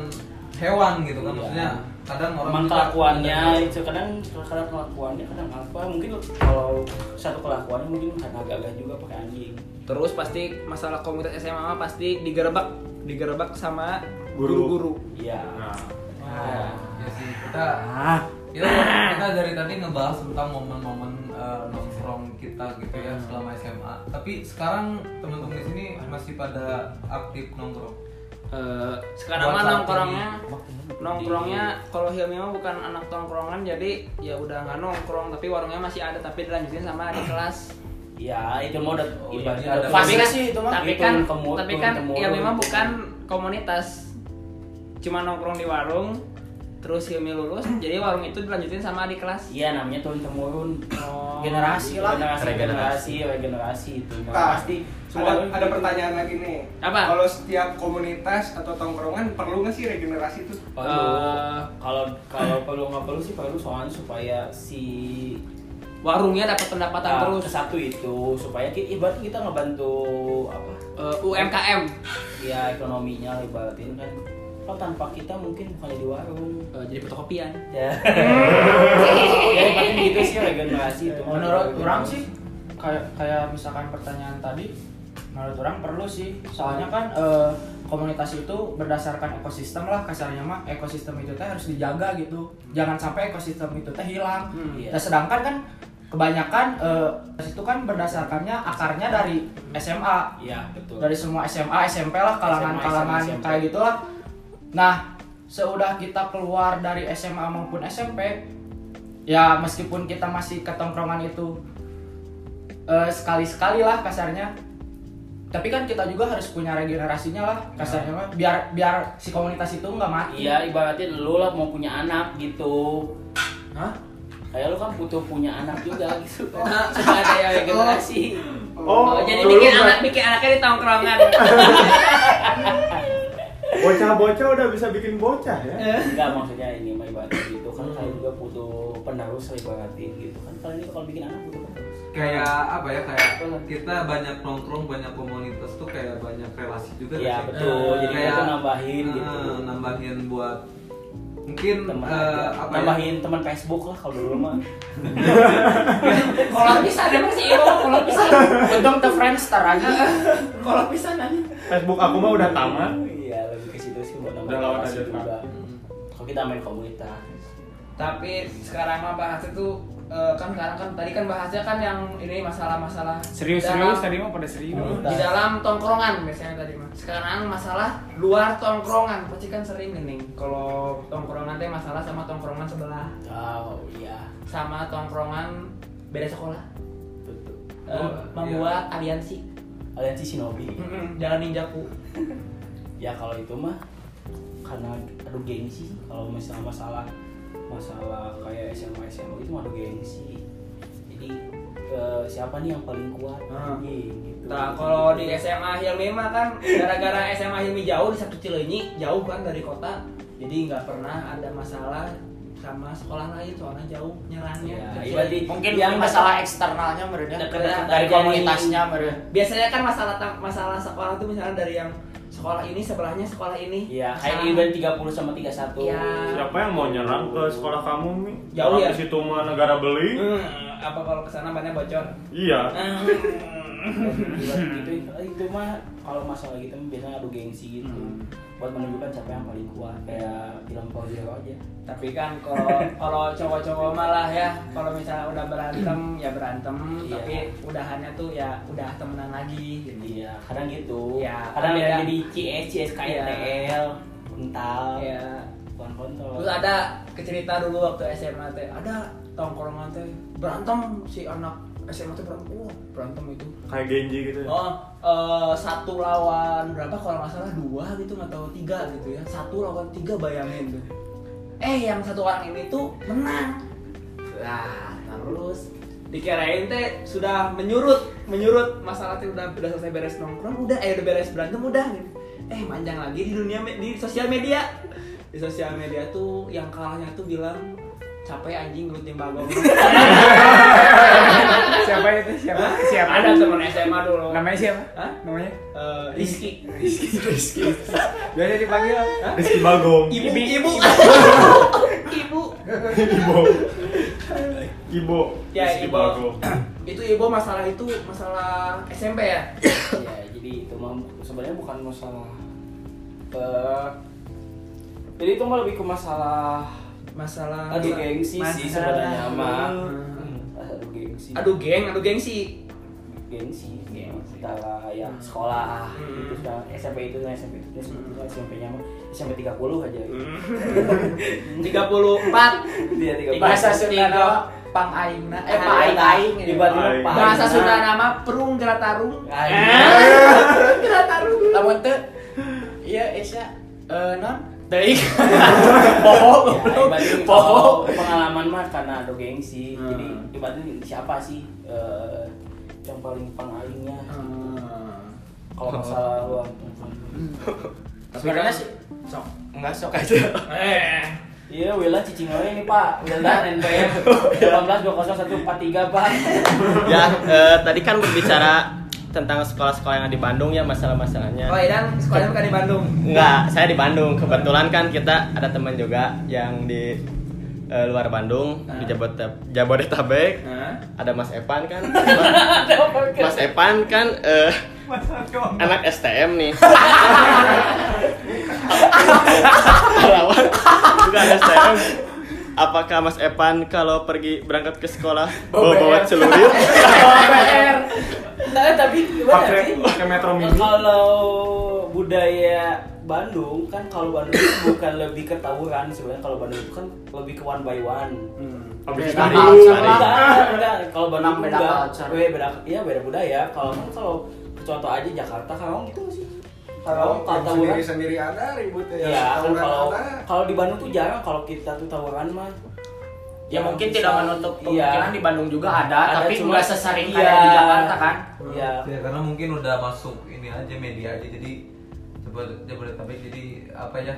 S5: hewan gitu kan
S2: Iya.
S5: maksudnya kadang orang
S2: Emang kelakuannya itu kadang kadang kelakuannya kadang apa mungkin kalau satu kelakuannya mungkin karena agak-agak juga pakai anjing.
S6: Terus pasti masalah komunitas SMA mah pasti digerebek, digerebek sama
S1: Guru.
S6: guru-guru.
S2: Iya.
S1: Nah,
S5: Nah, ya sih kita kita, kita dari tadi ngebahas tentang momen-momen eh, nongkrong kita gitu ya selama SMA tapi sekarang teman-teman di sini masih pada aktif nongkrong
S6: Eh, sekarang mah
S5: Buat saat
S6: nongkrongnya
S2: Waktu-
S6: nongkrongnya kalau Hilmi mah bukan anak tongkrongan jadi ya udah nggak nongkrong tapi warungnya masih ada tapi dilanjutin sama adik kelas
S2: Ya itu mau udah
S5: Oh, jadi ada-
S2: pasti
S6: kan-
S2: sih itu mah.
S6: tapi kan tapi kan ya memang bukan komunitas cuma nongkrong di warung terus Hilmi lulus jadi warung itu dilanjutin sama adik kelas
S2: Iya namanya turun temurun.
S6: Oh.
S2: generasi lah. Generasi
S8: Regenerasi.
S2: regenerasi oh, Ah, regenerasi itu. Yang
S7: Nah,
S2: Ya, pasti
S7: ada,
S2: semua-
S7: ada pertanyaan lagi nih.
S6: Apa?
S7: Kalau setiap komunitas atau tongkrongan perlu nggak sih regenerasi itu?
S2: Perlu.
S6: Eh,
S2: kalau kalau perlu nggak perlu sih perlu soalnya supaya si
S6: warungnya dapat pendapatan
S2: ah,
S6: terus
S2: satu itu supaya kita ibarat kita ngebantu apa
S6: Eh, UMKM
S2: ya ekonominya lah ibaratin kan kalau tanpa kita mungkin bukan jadi warung
S6: Eh, jadi fotokopian
S2: ya ya paling gitu sih regenerasi itu
S8: menurut orang sih kayak kayak misalkan pertanyaan tadi menurut orang perlu sih soalnya kan eh, komunitas itu berdasarkan ekosistem lah kasarnya mah ekosistem itu teh harus dijaga gitu
S4: Hmm.
S8: jangan sampai ekosistem itu teh hilang
S6: Hmm,
S2: iya.
S8: Nah, sedangkan kan kebanyakan eh, itu kan berdasarkannya akarnya dari SMA
S2: ya betul
S8: dari semua SMA SMP lah kalangan-kalangan
S2: SMA, SMP.
S8: kayak gitulah nah seudah kita keluar dari SMA maupun SMP ya meskipun kita masih ketongkrongan itu eh, sekali-sekali lah kasarnya tapi kan kita juga harus punya regenerasinya lah
S6: Iya.
S8: kasarnya mah. biar biar si komunitas itu nggak mati
S2: Iya, ibaratnya lu lah mau punya anak gitu.
S8: Hah?
S2: Kayak lu kan butuh punya anak juga gitu.
S5: Oh.
S2: Nah, suka ada yang regenerasi.
S1: Oh,
S6: Oh, jadi
S1: dulu
S6: bikin
S1: mah-
S6: anak bikin anaknya di tongkrongan
S1: bocah-bocah udah bisa bikin bocah ya.
S2: Iya. Enggak maksudnya ini mah ibaratnya gitu
S5: Hmm.
S2: kan kalian juga butuh penerus lah ibaratnya gitu kan kalian juga kalau bikin anak butuh penerus.
S5: kayak apa ya kayak kita banyak nongkrong banyak komunitas tuh kayak banyak relasi juga
S2: Iya,
S5: nggak sih?
S2: betul.
S5: Eh,
S2: Jadi kita tuh nambahin
S5: eh,
S2: gitu.
S5: nambahin buat mungkin
S2: Teman
S5: eh,
S2: aja.
S5: apa ya?
S2: Nambahin teman Facebook lah kalau dulu mah.
S6: kalau bisa ada masih ibu kalau bisa
S8: untung the friendster aja
S6: kalau bisa nanti
S1: Facebook aku mah udah tamat.
S2: Iya, lebih ke situ sih buat
S1: Udah lawan aja,
S2: nambahin relasi
S1: Kak.
S2: juga. Kalau kita main komunitas.
S6: tapi sekarang mah bahas itu eh, kan sekarang kan tadi kan bahasnya kan yang ini masalah-masalah
S4: Serius-serius
S6: dalam-
S4: tadi mah pada serius.
S6: di dalam tongkrongan biasanya tadi mah sekarang masalah luar tongkrongan pasti kan sering nih Neng. kalau tongkrongan teh masalah sama tongkrongan sebelah
S2: Oh iya,
S6: sama tongkrongan beda sekolah
S2: betul.
S6: Eh,
S5: Oh,
S6: membuat aliansi
S2: Aliansi Shinobi.
S6: Mm-mm, jalan ninjaku
S2: ya kalau itu mah karena aduh gengsi kalau misalnya masalah masalah kayak SMA SMA itu gitu mah aduh gengsi jadi eh, siapa nih yang paling kuat
S6: Ah.
S2: Iya, gitu.
S6: Nah, kalau di SMA Hilmi mah kan gara-gara SMA Hilmi jauh di satu Cileunyi, jauh kan dari kota. Jadi nggak pernah ada masalah sama sekolah lain soalnya jauh nyerangnya.
S2: Ya,
S6: Jadi-
S2: berarti
S8: mungkin
S2: yang
S8: yang masalah eksternalnya mereka
S6: Deket-deket
S8: dari
S6: aja
S8: komunitasnya mereka
S6: biasanya kan masalah tang- masalah sekolah tuh misalnya dari yang sekolah ini sebelahnya sekolah ini.
S2: ya kayak
S6: Masalah-
S2: event Iya. 30 sama 31
S6: Ya.
S1: Siapa yang mau nyerang ke sekolah kamu, Mi?
S6: Jauh ya?
S1: Orang Di situ mah negara beli.
S6: Hmm, apa kalau kesana banyak bocor?
S1: Iya.
S2: Hmm. itu, eh, itu mah kalau masalah gitu mah biasanya adu gengsi gitu
S6: Hmm.
S2: buat menunjukkan siapa yang paling kuat kayak film Power Zero aja
S6: Tapi kan kalau kalau cowok-cowok malah ya kalau misalnya udah berantem ya berantem,
S2: Iya.
S6: tapi udahannya tuh ya udah temenan lagi. gitu.
S2: Iya, kadang gitu.
S6: Iya,
S2: kadang
S6: ada-
S2: jadi CS, CS, KTL, kental,
S6: Ya.
S2: bukan kontol.
S6: Terus ada kecerita dulu waktu SMA teh ada tongkrongan teh berantem si anak SMA tuh berantem, wah berantem itu.
S1: Kayak Genji gitu ya.
S6: Oh, eh, satu lawan berapa kalau nggak salah dua gitu nggak tahu tiga gitu ya. Satu lawan tiga bayangin tuh. eh yang satu orang ini tuh menang nah terus dikirain teh sudah menyurut menyurut masalah teh udah udah selesai beres nongkrong udah eh udah beres berantem udah gitu. eh panjang lagi di dunia me- di sosial media di sosial media tuh yang kalahnya tuh bilang capek anjing glutnya bagong
S9: siapa itu siapa siapa
S6: ada teman SMA dulu
S9: namanya siapa
S6: Hah?
S9: namanya
S6: Eh, Rizky
S9: biasa dipanggil
S1: Rizky Bagong
S6: ibu ibu ibu ibu
S1: Ibo Ibo
S6: Ya,
S1: Rizky
S6: Ibo.
S1: Bagong
S6: itu ibu masalah itu masalah SMP ya
S2: ya jadi itu mah sebenarnya bukan masalah eh, jadi itu mah lebih ke masalah
S6: masalah Hmm.
S2: aduh gengsi sih sebenarnya mah aduh gengsi
S6: aduh geng aduh gengsi
S2: gengsi masalah ya sekolah
S6: Hmm.
S2: itu sekarang SMP itu nah, SMP itu SMP itu SMP-nya mah SMP 30 aja
S6: Hmm.
S2: gitu.
S6: tiga puluh empat
S2: Dia 30.
S8: bahasa
S6: Iya, Tiga.
S8: Sunda nama pang aing na- eh
S6: Ah,
S8: pang aing aing gitu.
S2: Tiba-tiba
S1: Aing.
S2: Pak
S6: bahasa
S2: Aing.
S6: Sunda nama perung geratarung geratarung
S8: lamun teu ieu Esya eh non
S6: Deui.
S2: Ya, ibaratnya kalau pengalaman mah karena ada gengsi jadi ibaratnya siapa sih eh, yang paling pengalingnya kalau masalah luar
S8: sebenarnya sih sok enggak sok aja
S6: eh
S2: Iya, Willa cicing aja ini Pak. Willa NPM 18 20143 Pak.
S10: ya eh, tadi kan berbicara tentang sekolah-sekolah yang ada di Bandung ya masalah-masalahnya
S5: Oh,
S6: kalau Idan sekolahnya bukan di Bandung
S10: Enggak, saya di Bandung. Kebetulan kan kita ada teman juga yang di eh, luar Bandung, di Jabodeta- Jabodetabek. Ada Mas Evan kan. Mas Evan kan eh, anak STM nih. Pahlawan juga anak STM. Apakah Mas Evan kalau pergi berangkat ke sekolah bawa bawa celurit?
S2: Nah, tapi gimana
S1: Pakai
S2: sih?
S1: pakai Metro Mini
S2: Kalau budaya Bandung kan kalau Bandung itu bukan lebih ke tawuran sebenarnya kalau Bandung itu kan lebih ke one by one.
S1: Habis
S2: Nah,
S1: dari
S2: kalau-
S8: sama.
S2: enggak, enggak. Kalau Bandung
S8: Enam beda
S2: enggak.
S8: culture.
S2: Weh, beda iya beda budaya. Kalau kan kalau contoh aja Jakarta Karawang itu sih. Karawang kalau tawuran
S7: sendiri sendiri ada ributnya
S2: Ya, kan
S7: tawuran
S2: kalau
S7: ada
S2: kalau di Bandung tuh jarang kalau kita tuh tawuran mah.
S8: ya
S2: Yang
S8: mungkin
S2: bisa-
S8: tidak menutup
S2: Iya.
S8: kemungkinan di Bandung juga ada,
S2: Ada,
S8: tapi
S2: cuma-
S8: nggak sesering
S2: iya.
S8: kayak di Jakarta kan
S2: Iya.
S5: Ya, karena mungkin udah masuk ini aja media aja jadi Jabode- Jabodetabek jadi apa ya?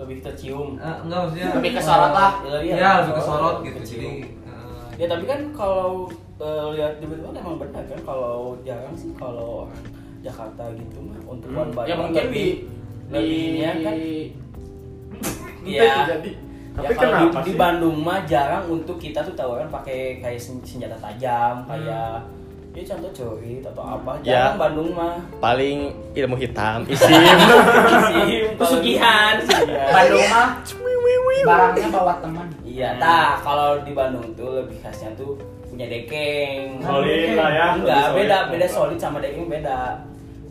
S2: Lebih tercium.
S5: Eh, enggak maksudnya
S8: Lebih kesorot lah.
S2: Iya,
S5: Iya, lebih kesorot gitu.
S2: Kecium.
S5: Jadi eh,
S2: Ya tapi kan kalau eh, lihat di Bandung emang benar kan kalau jarang sih kalau orang Jakarta gitu mah untuk one by
S8: ya
S2: one
S8: mungkin di
S2: lebih-
S8: di
S2: lebih inian kan. Iya.
S1: Iya jadi
S2: ya
S1: Tapi
S2: kalau
S1: kenapa
S2: di, di
S1: sih?
S2: Bandung mah jarang untuk kita tuh tawaran pakai kayak sen- senjata tajam kayak ya contoh celurit atau apa
S10: Ya.
S2: jarang Bandung mah
S10: Paling ilmu hitam, isim.
S2: Isim, kalau-
S6: Pesugihan.
S2: Pesugihan.
S8: Bandung mah barangnya bawa teman
S2: Iya, tah kalau di Bandung tuh lebih khasnya tuh punya dekeng.
S1: Solid lah ya
S2: Enggak,
S1: lebih
S2: beda, beda solid sama dekeng beda.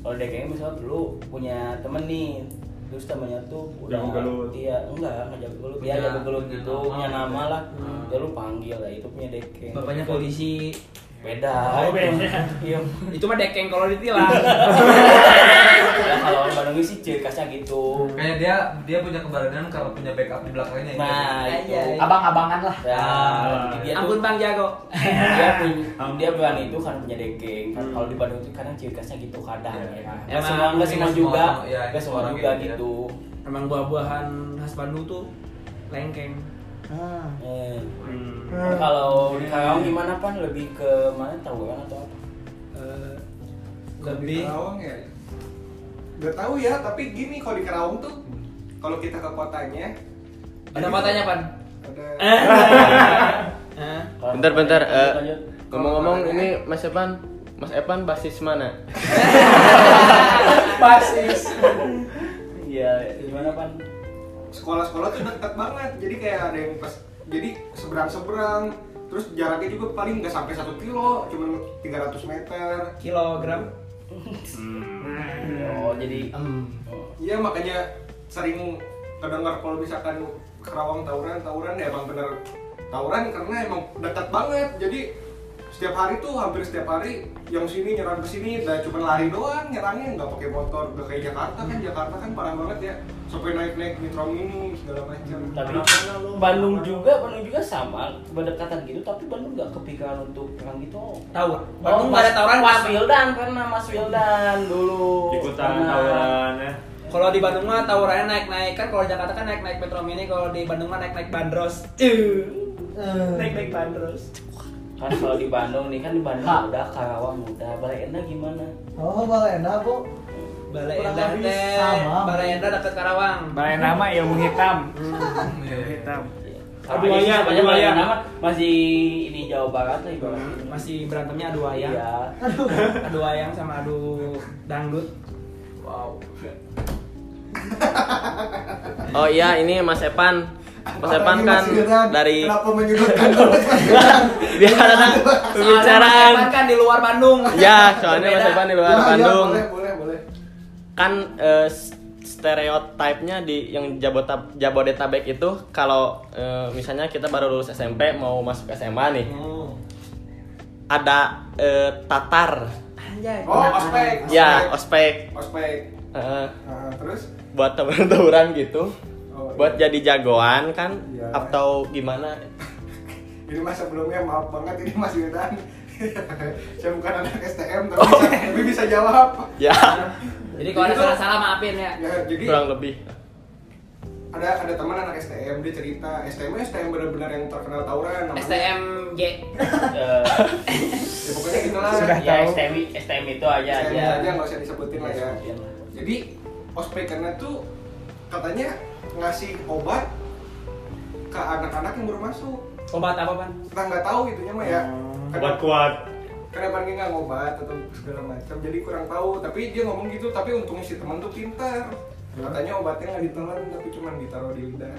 S2: Kalau dekeng misalnya dulu punya temen nih, terus temennya tuh punya
S1: Jago gelut.
S2: Iya, enggak, enggak jago gelut. Dia
S5: Punya-
S2: jago gelut
S5: punya
S2: gitu,
S5: nama.
S2: punya nama lah. Ya lu panggil lah, itu punya dekeng.
S6: bapaknya polisi
S2: Beda.
S1: Oh, beda.
S2: Iya.
S6: itu mah dekeng kalau ditilang
S2: Ya, kalau orang Bandung sih ciri khasnya gitu.
S5: kayak dia dia punya keberanian kalau punya backup di belakangnya gitu.
S2: Nah, itu.
S6: Iya, iya.
S8: abang-abangan lah
S2: Ya, dia tuh-
S6: ampun bang jago
S2: dia punya dia bukan itu karena punya dekeng kan kalau di Bandung itu kadang ciri khasnya gitu kadang ya kan nggak
S6: Emang
S2: semua nggak semua
S5: nggak
S2: juga
S5: semua, ya,
S2: nggak semua
S5: orang
S2: juga
S5: gitu, ya.
S2: gitu
S6: emang buah-buahan khas Bandung tuh lengkeng
S2: Eh, kalau di Karawang gimana pan lebih ke mana tahu kan atau apa
S6: Eh,
S7: di
S6: lebih
S7: Kerawang ya nggak tahu ya tapi gini kalau di Kerawang tuh kalau kita ke kotanya
S6: ada matanya pan
S7: ada
S6: Eh,
S2: Kalau-
S10: Bentar, bentar. eh,
S2: lanjut.
S10: Ngomong-ngomong ini Mas Evan, Mas Evan basis mana?
S8: basis
S2: iya gimana pan
S7: sekolah-sekolah tuh dekat banget jadi kayak ada yang pas jadi seberang-seberang terus jaraknya juga paling nggak sampai satu kilo cuma 300 meter
S6: kilogram
S2: oh jadi oh.
S7: iya makanya sering kedengar kalau misalkan Kerawang tawuran tawuran ya emang bener tawuran karena emang dekat banget jadi setiap hari tuh hampir setiap hari yang sini nyerang ke sini dan cuma lari doang nyerangnya nggak pakai motor nggak kayak Jakarta kan Jakarta kan parah banget ya sampai naik naik metro mini segala macam
S2: tapi
S7: Kenapa lu?
S2: Bandung juga Bandung juga sama berdekatan gitu tapi Bandung nggak kepikiran untuk perang gitu
S6: Tahu.
S3: Oh,
S2: Bandung
S6: Bandung nggak ada tawuran,
S2: Mas
S6: Mas.
S2: Wildan pernah Mas Wildan dulu
S1: ikutan
S2: Pernah.
S1: tawuran ya
S6: Kalau di Bandung mah tawurannya naik-naik kan kalau Jakarta kan naik-naik Metro
S5: Eh,
S6: Mini kalau di Bandung mah naik-naik bandros. Eh. Naik-naik bandros.
S2: kan kalau di Bandung nih kan di Bandung udah Karawang udah Balai Endah gimana
S11: Oh, balai enak, Bu.
S6: Balai
S11: Kurang
S6: Endah
S11: lebih
S6: teh,
S11: sama.
S6: Balai Endah dekat Karawang.
S9: Balai nama ilmu hitam. Ilmu hitam.
S2: Aduh
S6: Aduh,
S2: ayah,
S6: ayah,
S2: banyak
S6: aduh,
S2: Balai
S6: ayah.
S2: Endah mah masih ini Jawa Barat lah ibaratnya.
S6: Masih berantemnya adu ayam.
S2: Iya.
S6: Adu ayam sama adu dangdut. Wow.
S10: Oh iya, ini Mas Epan. Mas Epan
S7: Apalagi
S10: kan
S7: Mas Wildan,
S10: dari
S7: kenapa menyudutkan Mas Wildan?
S10: biar ada pembicaraan.
S6: Soalnya kan di luar Bandung.
S10: Ya, soalnya Mas
S6: Berbeda.
S10: Epan di luar
S7: Ya, ya,
S10: Bandung.
S7: boleh boleh boleh
S10: kan eh, s- stereotipnya di yang Jabota- Jabodetabek itu kalau eh, misalnya kita baru lulus SMP mau masuk SMA nih
S2: Hmm.
S10: ada eh, Tatar
S6: Anjay.
S7: oh ospek
S10: ya ospek
S7: ospek
S10: Eh,
S7: Ah, terus
S10: buat teman-teman gitu
S7: Oh,
S10: buat
S7: iya.
S10: jadi jagoan kan
S7: Iya.
S10: atau gimana
S7: ini mas sebelumnya maaf banget ini mas Wildan saya bukan anak STM tapi, bisa, tapi bisa
S10: Oh.
S7: jawab
S10: ya
S6: Jadi kalau ada
S7: Jadi tuh-
S6: salah-salah maafin ya.
S7: ya jadi
S10: kurang lebih
S7: ada ada teman anak STM dia cerita STM STM benar-benar yang terkenal tawuran namanya.
S6: STMG.
S2: Eh,
S7: ya pokoknya gitulah
S9: Sudah
S2: ya
S9: tahu.
S2: STM STM itu aja
S7: STM
S2: aja.
S7: aja nggak usah disebutin lah ya
S2: Iya lah.
S7: jadi ospekannya tuh katanya ngasih obat ke anak-anak yang baru masuk
S6: Obat apa, Pan?
S7: kita nggak tahu itunya mah ya
S1: Hmm. obat kuat
S7: karena Bang nggak ngobat atau segala macam jadi kurang tahu tapi dia ngomong gitu tapi untungnya si teman tuh pintar katanya obatnya nggak ditelan tapi cuman ditaruh di lidah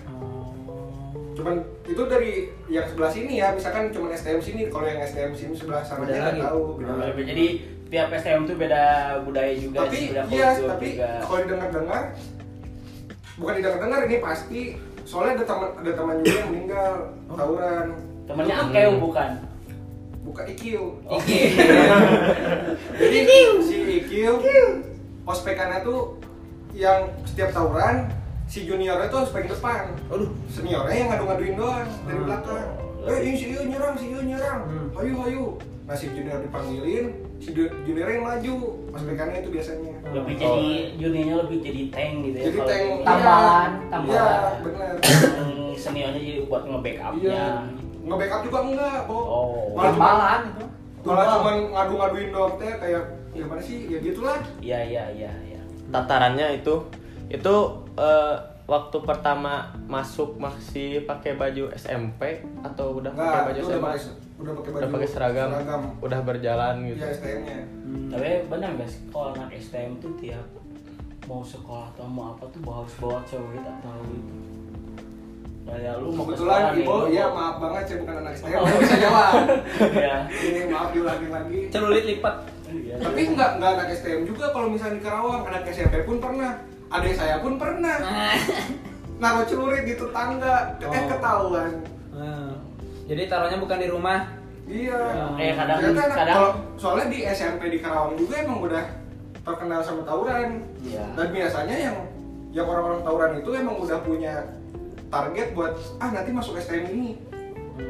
S7: cuman itu dari yang sebelah sini ya misalkan cuman STM sini kalau yang STM sini sebelah sana
S2: Beda
S7: nggak
S2: lagi.
S7: tahu beda lagi.
S2: Jadi tiap STM tuh beda budaya juga
S7: tapi
S2: sih, beda
S7: iya
S2: kultur
S7: tapi
S2: juga.
S7: kalau didengar-dengar bukan didengar-dengar ini pasti soalnya ada teman ada teman juga yang meninggal tawuran
S2: Temennya Akeu Oh. bukan?
S7: buka IQ
S2: Oke.
S7: jadi si IQ ospekannya tuh yang setiap tawuran si juniornya tuh ospek depan aduh seniornya yang ngadu-ngaduin
S2: Ah,
S7: doang dari belakang
S2: iya.
S7: eh ini si Iu nyerang si Iu nyerang
S2: Hmm.
S7: hayu hayu nah si junior dipanggilin si du- juniornya yang maju ospekannya itu biasanya
S2: lebih jadi juniornya lebih jadi tank gitu ya.
S7: jadi
S2: kalau
S7: tank
S2: ini.
S8: Tambahan,
S7: iya
S8: tambahan.
S7: benar
S2: Yang seniornya jadi buat nge-backupnya.
S7: iya nge-backup juga enggak po
S2: Oh.
S7: malah cuma
S8: Malan itu.
S7: malah cuma ngadu-ngaduin doang teh kayak ya mana sih ya gitulah
S2: Iya iya iya iya.
S10: tatarannya itu itu eh, waktu pertama masuk masih pakai baju SMP atau udah pakai
S7: Enggak,
S10: baju
S7: Nah, itu udah
S10: SMA
S7: pakai udah pakai baju
S10: udah pakai seragam,
S7: seragam.
S10: udah berjalan gitu
S7: Iya, STM-nya.
S6: Hmm.
S2: Tapi benar guys, kalau anak STM tuh tiap mau sekolah atau mau apa tuh harus bawa celurit atau
S6: Hmm.
S2: gitu. Kayak Ya, lu mau ke
S7: Kebetulan
S2: sekolah nih,
S7: Ibu,
S2: lu-
S7: ya maaf banget saya bukan anak STM,
S2: Oh.
S7: nggak bisa jawab.
S2: Iya.
S7: Ini maaf diulangi lagi.
S6: Celulit lipat.
S2: Iya.
S7: Tapi enggak enggak anak STM juga kalau misalnya di Karawang, anak SMP pun pernah. Adik saya pun pernah. Naruh celurit di tetangga, eh
S6: Oh.
S7: ketahuan.
S6: Nah, Jadi taruhnya bukan di rumah.
S7: Iya.
S2: Kayak Eh, kadang-
S7: Ternyata anak-
S2: kadang-
S7: kalau- soalnya di SMP di Karawang juga emang udah terkenal sama tawuran.
S2: Iya.
S7: Dan biasanya yang yang orang-orang tawuran itu emang udah punya target buat ah nanti masuk STM ini.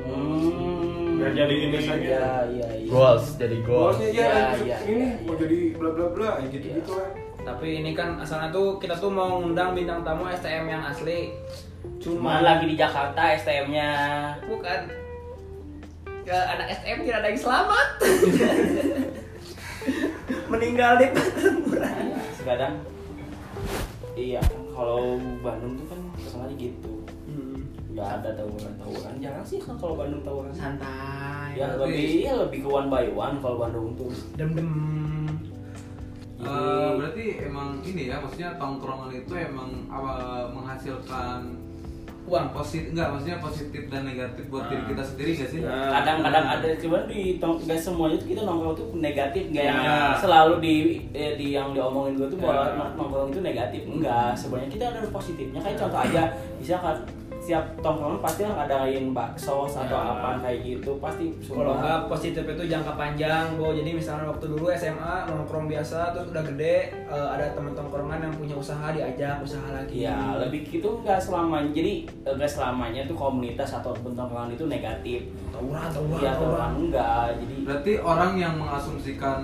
S2: Hmm.
S1: Biar jadi ini
S2: Iya
S1: gitu.
S2: iya iya.
S10: goals jadi goals
S7: Goalsnya
S2: Iya,
S7: aja
S2: iya,
S7: ini
S2: iya.
S7: mau jadi bla bla bla ya gitu gitu lah.
S6: Tapi ini kan asalnya tuh kita tuh mau ngundang bintang tamu STM yang asli.
S2: Cuman lagi di Jakarta STM-nya.
S6: bukan ke anak STM tidak ada yang selamat. Meninggal di pertempuran.
S2: Sekarang Iya, kalau Bandung tuh kan kesannya gitu.
S7: Hmm.
S2: Nggak ada tawuran-tawuran. Jarang sih kan kalau Bandung tawuran.
S6: Santai.
S2: Ya lebih ya lebih ke one by one kalau Bandung tuh.
S6: Dem dem.
S5: Eh, berarti emang ini ya maksudnya tongkrongan itu emang apa menghasilkan
S6: Uang.
S5: positif enggak maksudnya positif dan negatif buat diri kita sendiri gak sih?
S6: Nah.
S2: kadang-kadang ada cuman di tong- nggak semuanya tuh kita nongkrong tuh negatif nggak yang
S5: Iya.
S6: Nah.
S2: selalu di eh, di yang diomongin gue tuh bahwa nongkrong itu negatif enggak sebenarnya kita ada positifnya kayak contoh aja misalkan siap tongkrongan pasti lah ngadain bakso atau
S6: Ya.
S2: apa kayak gitu pasti
S6: Kalau
S2: semua.
S6: nggak positif itu jangka panjang, Bo. Jadi misalnya waktu dulu SMA nongkrong biasa, terus udah gede eh, ada teman tongkrongan yang punya usaha diajak usaha lagi.
S2: Ya lebih gitu nggak selamanya jadi eh, nggak selamanya tuh komunitas atau bentrokan itu negatif.
S6: Tawuran,
S5: tawuran,
S2: Iya
S5: tawuran.
S2: tawuran enggak. Jadi
S6: Nah,
S5: Berarti orang yang mengasumsikan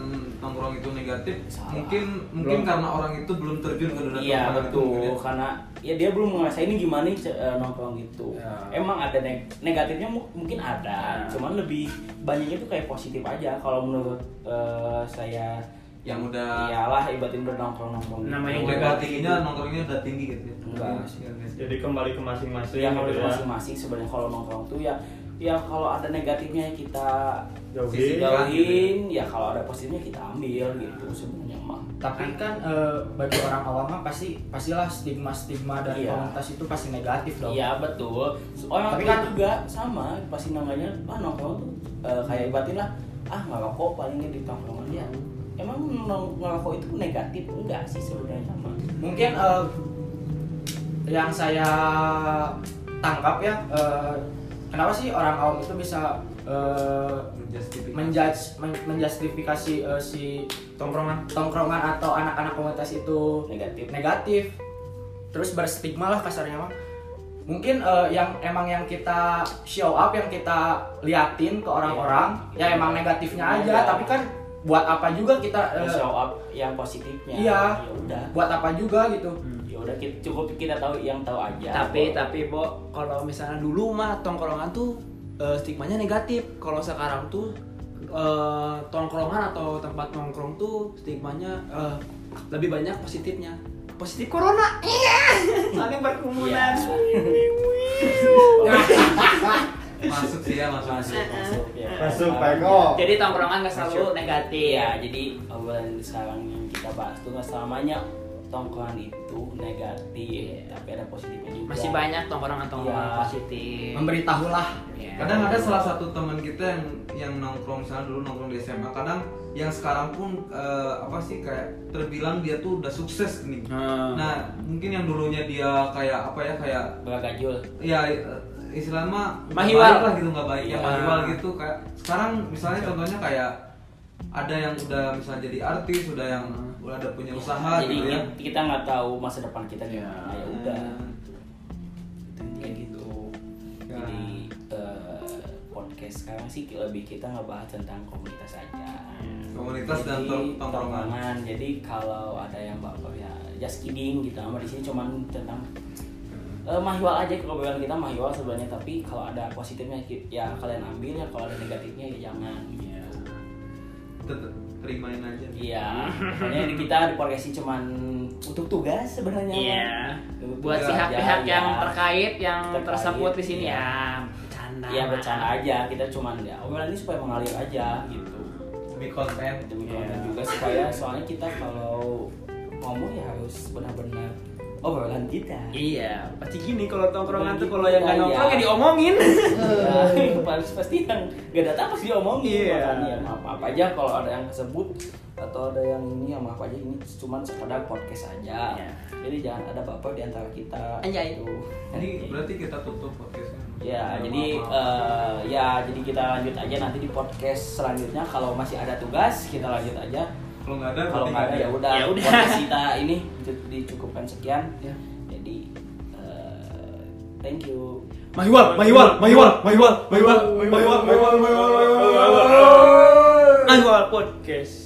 S5: nongkrong itu negatif mungkin mungkin
S2: Belum.
S5: karena orang itu belum terjun ke dunia
S2: Iya
S5: nongkrong itu mungkin
S2: betul
S5: ya.
S2: karena ya dia belum ngerasain ini gimana sih eh, nongkrong gitu.
S5: Iya.
S2: Emang ada neg- negatifnya mu- mungkin ada, cuman lebih banyaknya tuh kayak positif aja kalau menurut eh, saya
S5: yang udah
S2: iyalah ibatin udah gitu. nongkrong nongkrong.
S5: namanya juga tingginya nongkrongnya udah tinggi gitu ya.
S2: Enggak.
S1: Jadi kembali ke masing-masing.
S2: ya kalau
S1: gitu
S2: dari masing-masing sebenarnya kalau nongkrong tuh ya ya kalau ada negatifnya kita
S1: Jauhin.
S2: sisi jauhin
S5: gitu
S2: ya kalau ada positifnya kita ambil gitu sebenarnya mah
S8: tapi kan eh, bagi orang awam mah pasti pastilah stigma stigma dari
S2: Iya.
S8: komunitas itu pasti negatif dong
S2: iya betul orang
S8: Tapi
S2: tua
S8: kan-
S2: juga sama pasti namanya ah nongkrong tuh eh, kayak batin lah ah ngerokok palingnya di tongkrongan ya emang nong- ngerokok itu negatif enggak sih sebenarnya mah
S8: mungkin eh, yang saya tangkap ya eh, kenapa sih orang awam itu bisa eh, menjudge men- menjustifikasi eh, si
S6: tongkrongan
S8: tongkrongan atau anak-anak komunitas itu
S2: negatif
S8: negatif terus berstigma lah kasarnya mah mungkin eh, yang emang yang kita show up yang kita liatin ke orang-orang
S2: Iya.
S8: ya emang negatifnya aja
S2: Iya.
S8: tapi kan buat apa juga kita eh,
S2: show up yang positifnya
S8: Iya.
S2: ya udah
S8: buat apa juga gitu
S2: ya udah kita cukup kita tahu yang tahu aja
S3: Tapi-
S6: tapi Bo, kalau misalnya dulu mah tongkrongan tuh eh, stigmanya negatif. Kalau sekarang tuh eh, tongkrongan atau tempat nongkrong tuh stigmanya eh, lebih banyak positifnya. Positif corona. Iya. Saling
S2: Iya.
S6: berkerumunan.
S5: Masuk sih ya masuk.
S2: masuk masuk ya.
S4: Masuk,
S2: Sekarang,
S4: Pengok.
S2: ya.
S4: Jadi
S6: tongkrongan nggak selalu negatif.
S2: ya jadi obrolan sekarang yang kita bahas tuh nggak selamanya tongkrongan itu negatif tapi ada positifnya juga
S3: Iya. Masih banyak tongkrongan-tongkrongan
S2: Iya.
S3: positif.
S8: memberitahulah
S5: Kadang ada salah satu teman kita yang yang nongkrong misalnya dulu nongkrong di SMA, kadang yang sekarang pun eh, apa sih kayak terbilang dia tuh udah sukses nih. Nah, mungkin yang dulunya dia kayak apa ya kayak
S2: bergajul
S5: ya istilahnya mah nggak
S2: Mahiwal.
S5: baik lah gitu nggak baik yang
S2: Iya.
S5: mahiwal gitu kayak sekarang misalnya contohnya kayak ada yang udah misalnya jadi artis udah yang udah ada punya usaha
S2: jadi
S5: gitu ya
S2: kita- kita nggak tahu masa depan kita gimana ya udah kayak gitu
S5: Ya.
S2: jadi eh, podcast sekarang sih lebih kita ngebahas tentang komunitas aja
S5: Ya, Komunitas dan
S2: Jadi,
S5: tong- tongkrongan.
S2: tongkrongan. jadi kalau ada yang baper ya just kidding gitu sama di sini cuman tentang
S5: Hmm.
S2: eh, mahwal aja kebetulan kita mahwal sebenarnya tapi kalau ada positifnya ki- ya kalian ambil ya kalau ada negatifnya ya jangan gitu.
S5: Tetep terimain aja
S2: Iya, makanya di kita di podcast ini cuman untuk tugas sebenarnya. kan?
S3: Iya.
S2: Untuk
S3: Buat
S2: tugas
S3: pihak-pihak
S2: aja,
S3: yang
S2: ya.
S3: terkait yang
S2: Terkait,
S3: tersebut di sini
S2: iya.
S3: ya. Bercanda.
S2: Iya bercanda aja, kita cuman ya obrolan ini supaya mengalir aja gitu.
S5: demi konten
S2: Demi
S3: Iya.
S2: konten juga supaya soalnya kita kalau ngomong ya harus benar-benar obrolan kita.
S6: Iya, pasti gini kalau tongkrongan tuh kalau
S2: Iya,
S6: yang nggak
S2: iya.
S6: nongkrong ya diomongin.
S2: Ya, pasti pasti yang gak datang pasti diomongin
S6: Iya.
S2: makanya ya, maaf apa aja kalau ada yang kesebut atau ada yang ini ya maaf aja ini cuman sekedar podcast aja
S6: Iya.
S2: jadi jangan ada baper di antara kita
S3: Anjay.
S2: Gitu.
S5: jadi berarti kita tutup podcastnya
S2: Ya,
S5: Udah
S2: jadi
S5: maaf-maaf.
S2: eh, ya jadi kita lanjut aja nanti di podcast selanjutnya kalau masih ada tugas kita lanjut aja.
S5: kalau nggak ada
S2: Kalau
S5: berarti
S2: nggak ada ya udah.
S3: Ya udah.
S2: Podcast kita ini di- dicukupkan sekian. Jadi eh, thank you.
S6: Mahiwal, Mahiwal, Mahiwal, Mahiwal, Mahiwal, Mahiwal, Mahiwal, Mahiwal, Mahiwal, Mahiwal, Mahiwal podcast.